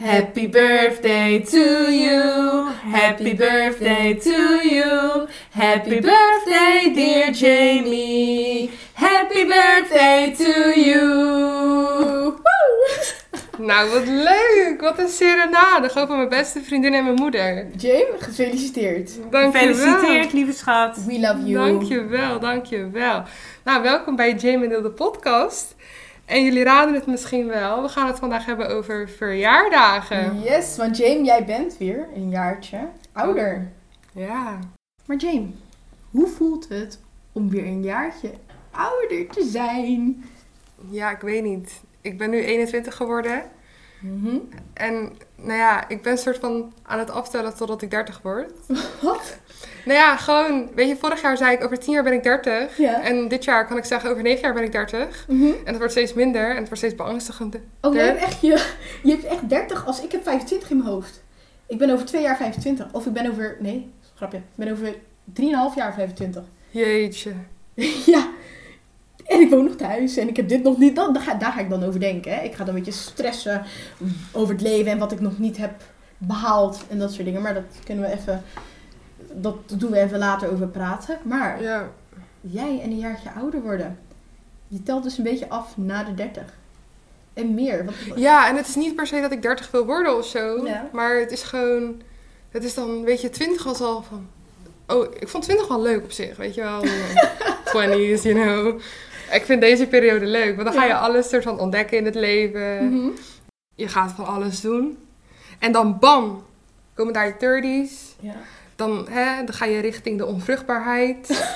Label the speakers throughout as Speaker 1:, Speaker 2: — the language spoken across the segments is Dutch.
Speaker 1: Happy birthday to you. Happy birthday to you. Happy birthday, dear Jamie. Happy birthday to you.
Speaker 2: Nou, wat leuk! Wat een serenade. Gewoon van mijn beste vriendin en mijn moeder.
Speaker 3: Jane, gefeliciteerd.
Speaker 2: Dank je wel.
Speaker 1: Gefeliciteerd, lieve schat.
Speaker 3: We love you.
Speaker 2: Dank je wel, dank je wel. Nou, welkom bij Jamie Deel de podcast. En jullie raden het misschien wel. We gaan het vandaag hebben over verjaardagen.
Speaker 3: Yes, want Jane, jij bent weer een jaartje ouder.
Speaker 2: Ja.
Speaker 3: Maar Jane, hoe voelt het om weer een jaartje ouder te zijn?
Speaker 2: Ja, ik weet niet. Ik ben nu 21 geworden.
Speaker 1: Mhm.
Speaker 2: En nou ja, ik ben soort van aan het aftellen totdat ik 30 word.
Speaker 3: Wat?
Speaker 2: Nou ja, gewoon, weet je, vorig jaar zei ik over 10 jaar ben ik 30.
Speaker 3: Ja.
Speaker 2: En dit jaar kan ik zeggen over 9 jaar ben ik 30.
Speaker 1: Mhm.
Speaker 2: En het wordt steeds minder en het wordt steeds beangstigender.
Speaker 3: Oh, jij hebt echt je, je hebt echt 30 als ik heb 25 in mijn hoofd. Ik ben over twee jaar 25. Of ik ben over, nee, grapje. Ik ben over 3,5 jaar 25.
Speaker 2: Jeetje.
Speaker 3: ja. En ik woon nog thuis en ik heb dit nog niet. Dan, daar, ga, daar ga ik dan over denken. Hè. Ik ga dan een beetje stressen over het leven en wat ik nog niet heb behaald en dat soort dingen. Maar dat kunnen we even. Dat doen we even later over praten. Maar
Speaker 2: Ja.
Speaker 3: jij en een jaartje ouder worden. Je telt dus een beetje af na de 30. En meer. Want,
Speaker 2: Ja, en het is niet per se dat ik 30 wil worden of zo.
Speaker 3: Ja.
Speaker 2: Maar het is gewoon. Het is dan, weet je, 20 was al van. Oh, ik vond 20 wel leuk op zich, weet je wel. 20s, you know. Ik vind deze periode leuk, want dan ga je
Speaker 3: Ja.
Speaker 2: alles soort van ontdekken in het leven.
Speaker 3: Mhm.
Speaker 2: Je gaat van alles doen. En dan bam, komen daar je 30s.
Speaker 3: ja.
Speaker 2: Dan, hè, dan ga je richting de onvruchtbaarheid.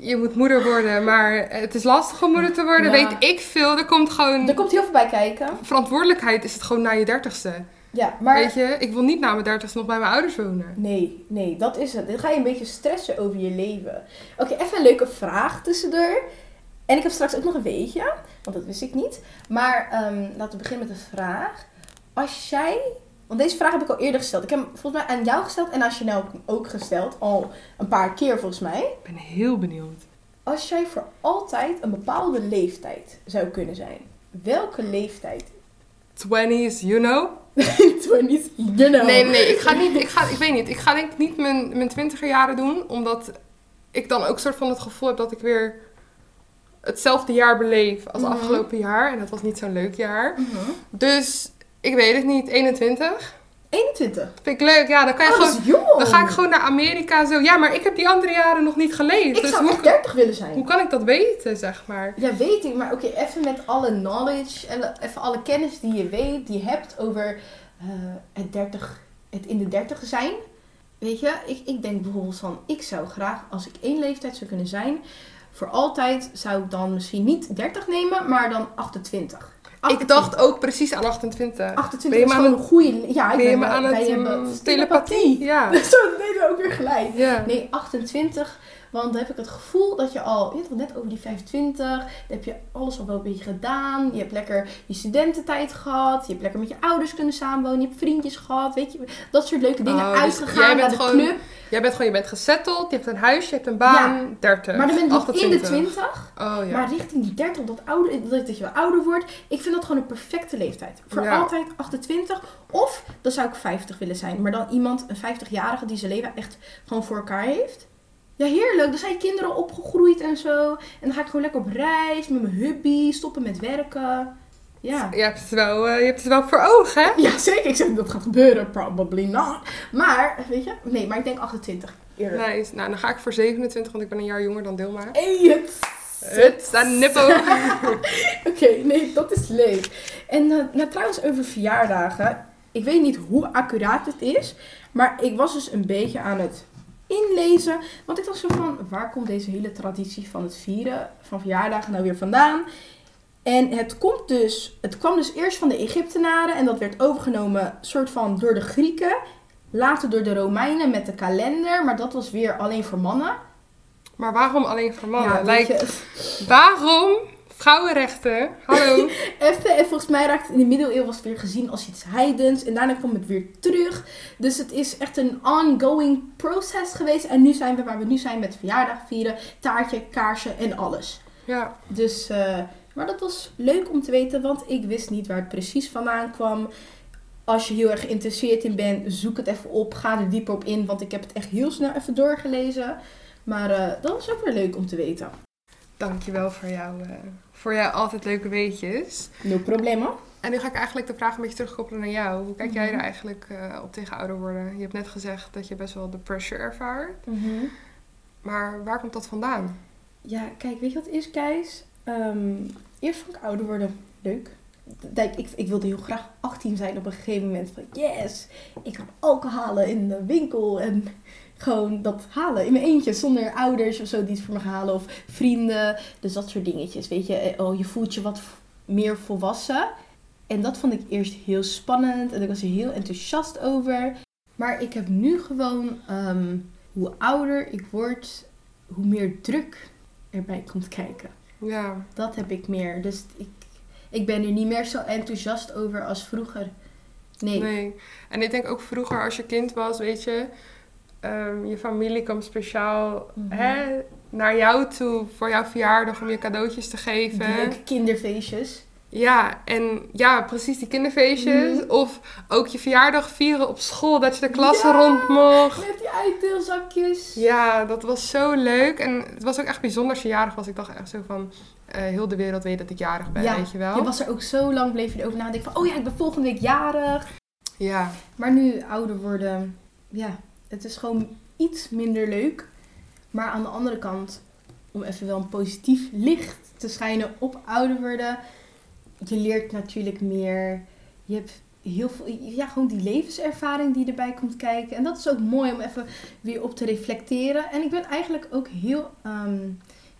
Speaker 2: Je moet moeder worden, maar het is lastig om moeder te worden.
Speaker 3: Ja.
Speaker 2: Weet ik veel. Er komt gewoon.
Speaker 3: Er komt heel veel bij kijken.
Speaker 2: Verantwoordelijkheid is het gewoon na je dertigste.
Speaker 3: Ja, maar.
Speaker 2: Weet je, ik wil niet na mijn dertigste nog bij mijn ouders wonen.
Speaker 3: Nee, nee, dat is het. Dan ga je een beetje stressen over je leven. Oké, even een leuke vraag tussendoor. En ik heb straks ook nog een weetje, want dat wist ik niet. Maar ehm, laten we beginnen met een vraag. Als jij, want deze vraag heb ik al eerder gesteld. Ik heb hem volgens mij aan jou gesteld en aan Chanel ook gesteld. Al een paar keer volgens mij.
Speaker 2: Ik ben heel benieuwd.
Speaker 3: Als jij voor altijd een bepaalde leeftijd zou kunnen zijn. Welke leeftijd?
Speaker 2: Twenties, you know?
Speaker 3: 20, you know.
Speaker 2: Nee, nee, ik ga niet, ik, ga, ik weet niet. Ik ga denk ik niet mijn, mijn twintiger jaren doen, omdat ik dan ook soort van het gevoel heb dat ik weer hetzelfde jaar beleef als
Speaker 3: Mhm.
Speaker 2: afgelopen jaar. En dat was niet zo'n leuk jaar.
Speaker 3: Mhm.
Speaker 2: Dus ik weet het niet, 21.
Speaker 3: 21.
Speaker 2: Vind ik leuk, ja, dan kan je
Speaker 3: Oh, dat
Speaker 2: gewoon...
Speaker 3: is jong.
Speaker 2: Dan ga ik gewoon naar Amerika zo. Ja, maar ik heb die andere jaren nog niet geleefd.
Speaker 3: Ik
Speaker 2: dus
Speaker 3: zou
Speaker 2: hoe,
Speaker 3: echt 30 willen zijn.
Speaker 2: hoe kan ik dat weten, zeg maar?
Speaker 3: Ja, weet ik, maar oké, even met alle knowledge en even alle kennis die je weet, die je hebt over eh, het, 30, het in de 30 zijn. Weet je, ik, ik denk bijvoorbeeld van, ik zou graag, als ik één leeftijd zou kunnen zijn, voor altijd zou ik dan misschien niet 30 nemen, maar dan 28.
Speaker 2: Ik dacht ook precies aan 28.
Speaker 3: 28
Speaker 2: ben je
Speaker 3: is
Speaker 2: maar
Speaker 3: gewoon een goede... Ja, ik
Speaker 2: ben je
Speaker 3: ben
Speaker 2: maar
Speaker 3: wel-
Speaker 2: aan
Speaker 3: wij
Speaker 2: het,
Speaker 3: hebben
Speaker 2: mm, telepathie.
Speaker 3: Zo,
Speaker 2: Ja.
Speaker 3: dat deden we ook weer gelijk.
Speaker 2: Ja.
Speaker 3: Nee, 28. Want dan heb ik het gevoel dat je al, je hebt al net over die 25, dan heb je alles al wel een beetje gedaan. Je hebt lekker je studententijd gehad, je hebt lekker met je ouders kunnen samenwonen, je hebt vriendjes gehad, weet je, dat soort leuke dingen.
Speaker 2: Oh, dus
Speaker 3: Uitgegaan
Speaker 2: jij
Speaker 3: naar
Speaker 2: bent
Speaker 3: de
Speaker 2: gewoon
Speaker 3: club.
Speaker 2: Jij bent gewoon, je bent gezetteld, je hebt een huis, je hebt een baan, 30.
Speaker 3: Maar dan ben je nog in de
Speaker 2: 28.
Speaker 3: 20,
Speaker 2: Oh ja.
Speaker 3: maar richting die 30, dat, ouder, dat je wel ouder wordt. Ik vind dat gewoon een perfecte leeftijd. Voor
Speaker 2: Ja.
Speaker 3: altijd 28. Of dan zou ik 50 willen zijn, maar dan iemand, een 50-jarige die zijn leven echt gewoon voor elkaar heeft. Ja, heerlijk. Dan zijn kinderen opgegroeid en zo. En dan ga ik gewoon lekker op reis met mijn hubby, stoppen met werken. Ja.
Speaker 2: je, hebt het wel, eh, je hebt het wel voor ogen, hè?
Speaker 3: Ja, zeker. Ik zeg dat gaat gebeuren. Probably not. Maar, weet je? Nee, maar ik denk 28. Eerder.
Speaker 2: Nice. Nou, dan ga ik voor 27, want ik ben een jaar jonger dan Dilma.
Speaker 3: Hey, het
Speaker 2: Het, daar nippo.
Speaker 3: Oké, nee, dat is leuk. En eh, nou, trouwens, over verjaardagen. Ik weet niet hoe accuraat het is. Maar ik was dus een beetje aan het inlezen. Want ik dacht zo van, waar komt deze hele traditie van het vieren van verjaardagen nou weer vandaan? En het, komt dus, het kwam dus eerst van de Egyptenaren. En dat werd overgenomen soort van door de Grieken. Later door de Romeinen met de kalender. Maar dat was weer alleen voor mannen.
Speaker 2: Maar waarom alleen voor mannen?
Speaker 3: Ja, weet
Speaker 2: Like,
Speaker 3: je,
Speaker 2: waarom vrouwenrechten? Hallo.
Speaker 3: Even, en volgens mij raakt het in de middeleeuwen was het weer gezien als iets heidens. En daarna kwam het weer terug. Dus het is echt een ongoing proces geweest. En nu zijn we waar we nu zijn met verjaardag vieren, taartje, kaarsje en alles.
Speaker 2: Ja.
Speaker 3: Dus, eh, maar dat was leuk om te weten, want ik wist niet waar het precies vandaan kwam. Als je heel erg geïnteresseerd in bent, zoek het even op. Ga er dieper op in, want ik heb het echt heel snel even doorgelezen. Maar eh, dat is ook weer leuk om te weten.
Speaker 2: Dankjewel voor jou. eh, voor jou altijd leuke weetjes.
Speaker 3: No problema.
Speaker 2: En nu ga ik eigenlijk de vraag een beetje terugkoppelen naar jou. Hoe kijk
Speaker 3: Mhm.
Speaker 2: jij er eigenlijk eh, op tegen ouder worden? Je hebt net gezegd dat je best wel de pressure ervaart. Maar waar komt dat vandaan?
Speaker 3: Ja, kijk, weet je wat het is, Keis? Ehm, eerst vond ik ouder worden leuk. Kijk, ik, ik wilde heel graag 18 zijn op een gegeven moment. Van yes, ik kan alcohol halen in de winkel. En gewoon dat halen in mijn eentje. Zonder ouders of zo die het voor me gaan halen. Of vrienden. Dus dat soort dingetjes. Weet je, Eh, oh, je voelt je wat v- meer volwassen. En dat vond ik eerst heel spannend. En ik was er heel enthousiast over. Maar ik heb nu gewoon, ehm, hoe ouder ik word, hoe meer druk erbij komt kijken.
Speaker 2: Ja,
Speaker 3: Dat heb ik meer. Dus ik, ik ben er niet meer zo enthousiast over als vroeger. Nee.
Speaker 2: nee. En ik denk ook vroeger als je kind was, weet je... ehm, je familie kwam speciaal
Speaker 3: Mhm.
Speaker 2: hè, naar jou toe voor jouw verjaardag om je cadeautjes te geven.
Speaker 3: Druk kinderfeestjes.
Speaker 2: Ja, en ja, precies die kinderfeestjes.
Speaker 3: Mhm.
Speaker 2: Of ook je verjaardag vieren op school, dat je de klas
Speaker 3: Ja!
Speaker 2: rond mocht.
Speaker 3: Met die uitdeelzakjes.
Speaker 2: Ja, dat was zo leuk. En het was ook echt bijzonder als je jarig was. Ik dacht echt zo van, eh, heel de wereld weet dat ik jarig ben,
Speaker 3: Ja,
Speaker 2: weet je wel.
Speaker 3: Je was er ook zo lang, bleef je erover nadenken van, oh ja, ik ben volgende week jarig.
Speaker 2: Ja,
Speaker 3: Maar nu ouder worden, ja, het is gewoon iets minder leuk. Maar aan de andere kant, om even wel een positief licht te schijnen op ouder worden. Je leert natuurlijk meer. Je hebt heel veel, ja, gewoon die levenservaring die erbij komt kijken. En dat is ook mooi om even weer op te reflecteren. En ik ben eigenlijk ook heel ehm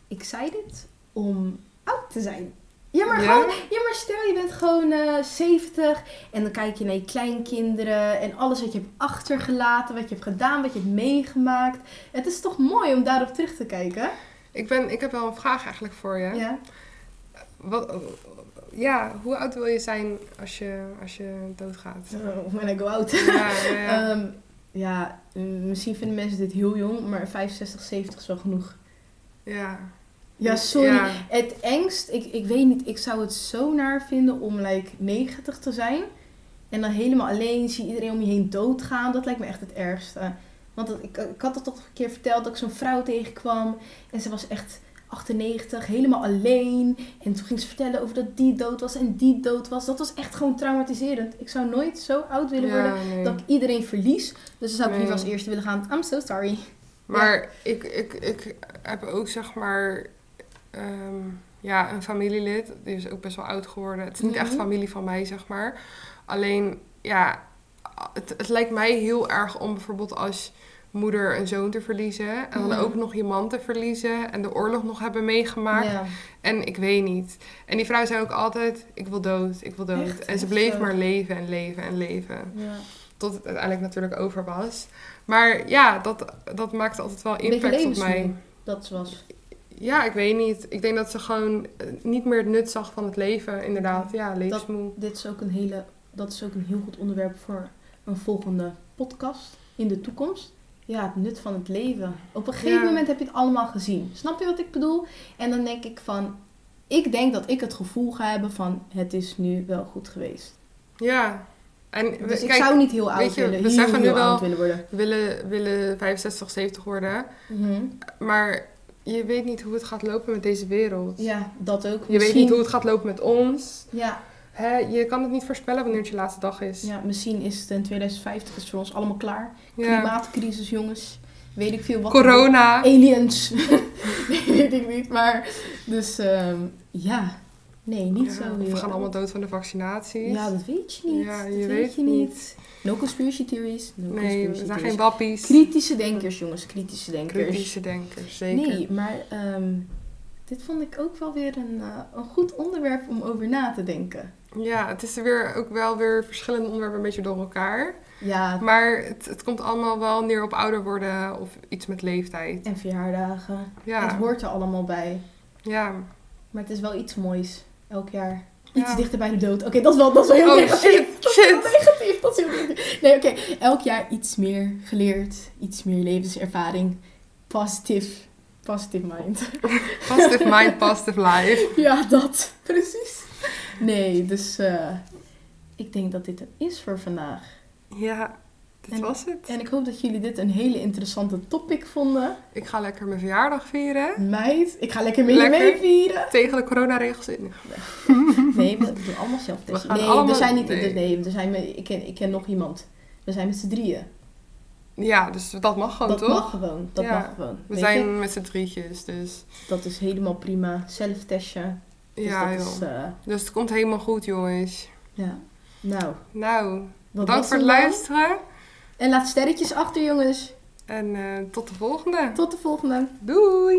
Speaker 3: excited om oud te zijn. Ja, maar
Speaker 2: Ja?
Speaker 3: gewoon ja, maar stel je bent gewoon eh 70 en dan kijk je naar je kleinkinderen en alles wat je hebt achtergelaten, wat je hebt gedaan, wat je hebt meegemaakt. Het is toch mooi om daarop terug te kijken?
Speaker 2: ik, ben, ik heb wel een vraag eigenlijk voor je.
Speaker 3: Ja.
Speaker 2: Wat, ja, hoe oud wil je zijn als je, als je doodgaat?
Speaker 3: Oh, when I go out.
Speaker 2: Ja, ja, ja.
Speaker 3: Ehm, ja, mm, misschien vinden mensen dit heel jong, maar 65, 70 is wel genoeg.
Speaker 2: ja.
Speaker 3: Ja, sorry.
Speaker 2: Ja.
Speaker 3: Het engst, ik, ik weet niet, ik zou het zo naar vinden om like 90 te zijn. En dan helemaal alleen, zie iedereen om je heen doodgaan. Dat lijkt me echt het ergste. Want dat, ik, ik had dat toch een keer verteld dat ik zo'n vrouw tegenkwam. En ze was echt 98, helemaal alleen. En toen ging ze vertellen over dat die dood was en die dood was. Dat was echt gewoon traumatiserend. Ik zou nooit zo oud willen
Speaker 2: Ja,
Speaker 3: worden
Speaker 2: nee.
Speaker 3: dat ik iedereen verlies. Dus dan zou ik
Speaker 2: Nee.
Speaker 3: liever als eerste willen gaan. I'm so sorry.
Speaker 2: Maar ik, ik, ik heb ook zeg maar ehm, ja, een familielid. Die is ook best wel oud geworden. Het is niet echt
Speaker 3: Mhm.
Speaker 2: familie van mij, zeg maar. Alleen, ja, het, het lijkt mij heel erg om bijvoorbeeld als moeder een zoon te verliezen. En dan
Speaker 3: Mhm.
Speaker 2: ook nog je man te verliezen. En de oorlog nog hebben meegemaakt.
Speaker 3: Ja.
Speaker 2: En ik weet niet. En die vrouw zei ook altijd, ik wil dood, ik wil dood.
Speaker 3: Echt?
Speaker 2: En ze
Speaker 3: Echt
Speaker 2: bleef
Speaker 3: zo?
Speaker 2: maar leven en leven en leven
Speaker 3: Ja.
Speaker 2: tot het uiteindelijk natuurlijk over was. Maar ja, dat, dat maakte altijd wel
Speaker 3: Een beetje
Speaker 2: impact op mij.
Speaker 3: levensmoe. Dat was.
Speaker 2: Ja, ik weet niet. Ik denk dat ze gewoon eh, niet meer het nut zag van het leven, inderdaad. Ja, levensmoe.
Speaker 3: Dit is ook een hele, dat is ook een heel goed onderwerp voor een volgende podcast in de toekomst. Ja, het nut van het leven. Op een gegeven
Speaker 2: Ja.
Speaker 3: moment heb je het allemaal gezien. Snap je wat ik bedoel? En dan denk ik van, ik denk dat ik het gevoel ga hebben van, het is nu wel goed geweest.
Speaker 2: Ja. En we,
Speaker 3: Dus ik
Speaker 2: kijk,
Speaker 3: zou niet heel oud
Speaker 2: weet je,
Speaker 3: willen,
Speaker 2: we
Speaker 3: heel,
Speaker 2: zeggen nu
Speaker 3: heel
Speaker 2: wel-
Speaker 3: oud willen worden.
Speaker 2: we willen, willen 65, 70 worden. Mhm. Maar je weet niet hoe het gaat lopen met deze wereld.
Speaker 3: Ja, dat ook.
Speaker 2: Je weet niet hoe het gaat lopen met ons.
Speaker 3: Ja,
Speaker 2: Hè, je kan het niet voorspellen wanneer het je laatste dag is.
Speaker 3: ja, misschien is het in 2050 is voor ons allemaal klaar.
Speaker 2: Ja.
Speaker 3: Klimaatcrisis, jongens. Weet ik veel wat.
Speaker 2: Corona.
Speaker 3: aliens. nee, weet ik niet. Maar dus ehm, ja, nee, niet
Speaker 2: Ja,
Speaker 3: zo.
Speaker 2: of
Speaker 3: heel
Speaker 2: we gaan
Speaker 3: erg.
Speaker 2: allemaal dood van de vaccinaties.
Speaker 3: Ja, dat weet je niet.
Speaker 2: Ja,
Speaker 3: dat
Speaker 2: je
Speaker 3: weet,
Speaker 2: weet
Speaker 3: je niet. No conspiracy theories. No
Speaker 2: Nee,
Speaker 3: conspiracy
Speaker 2: we zijn geen
Speaker 3: theories.
Speaker 2: wappies.
Speaker 3: Kritische denkers, jongens, kritische denkers.
Speaker 2: Kritische denkers, zeker.
Speaker 3: Nee, maar ehm, dit vond ik ook wel weer een, eh, een goed onderwerp om over na te denken.
Speaker 2: Ja, het is er weer, ook wel weer verschillende onderwerpen een beetje door elkaar.
Speaker 3: Ja,
Speaker 2: Maar het, het komt allemaal wel neer op ouder worden of iets met leeftijd.
Speaker 3: en verjaardagen. Het
Speaker 2: Ja,
Speaker 3: hoort er allemaal bij.
Speaker 2: ja.
Speaker 3: Maar het is wel iets moois elk jaar.
Speaker 2: Ja.
Speaker 3: Iets dichter bij de dood. Oké, dat is wel, dat is wel heel
Speaker 2: Oh,
Speaker 3: negatief.
Speaker 2: shit,
Speaker 3: dat is heel
Speaker 2: shit.
Speaker 3: negatief. Dat is heel negatief. Nee, oké. Elk jaar iets meer geleerd. Iets meer levenservaring. Positief. Positive mind.
Speaker 2: Positive mind, positive life.
Speaker 3: ja, dat. Precies. Nee, dus eh, ik denk dat dit het is voor vandaag.
Speaker 2: Ja, dit
Speaker 3: En-
Speaker 2: was het.
Speaker 3: En ik hoop dat jullie dit een hele interessante topic vonden.
Speaker 2: Ik ga lekker mijn verjaardag vieren.
Speaker 3: Meid, ik ga lekker met je
Speaker 2: Lekker.
Speaker 3: mee vieren.
Speaker 2: Tegen de coronaregels in.
Speaker 3: Nee, we doen allemaal zelf
Speaker 2: We
Speaker 3: testen.
Speaker 2: gaan
Speaker 3: Nee,
Speaker 2: allemaal-
Speaker 3: we zijn niet...
Speaker 2: nee.
Speaker 3: Nee. we zijn met, ik, ken, ik ken nog iemand. We zijn met z'n drieën.
Speaker 2: Ja, dus dat mag gewoon,
Speaker 3: dat
Speaker 2: toch?
Speaker 3: mag gewoon. Dat
Speaker 2: Ja.
Speaker 3: mag gewoon.
Speaker 2: We
Speaker 3: Weet
Speaker 2: zijn
Speaker 3: je?
Speaker 2: met z'n drietjes, dus...
Speaker 3: Dat is helemaal prima. Zelf testje. Dus
Speaker 2: ja,
Speaker 3: dat
Speaker 2: joh.
Speaker 3: is... eh,
Speaker 2: Dus het komt helemaal goed, jongens.
Speaker 3: ja. Nou,
Speaker 2: Nou,
Speaker 3: wat was
Speaker 2: bedankt voor
Speaker 3: hem dan?
Speaker 2: het luisteren.
Speaker 3: En laat sterretjes achter, jongens.
Speaker 2: En eh, tot de volgende.
Speaker 3: Tot de volgende.
Speaker 2: Doei!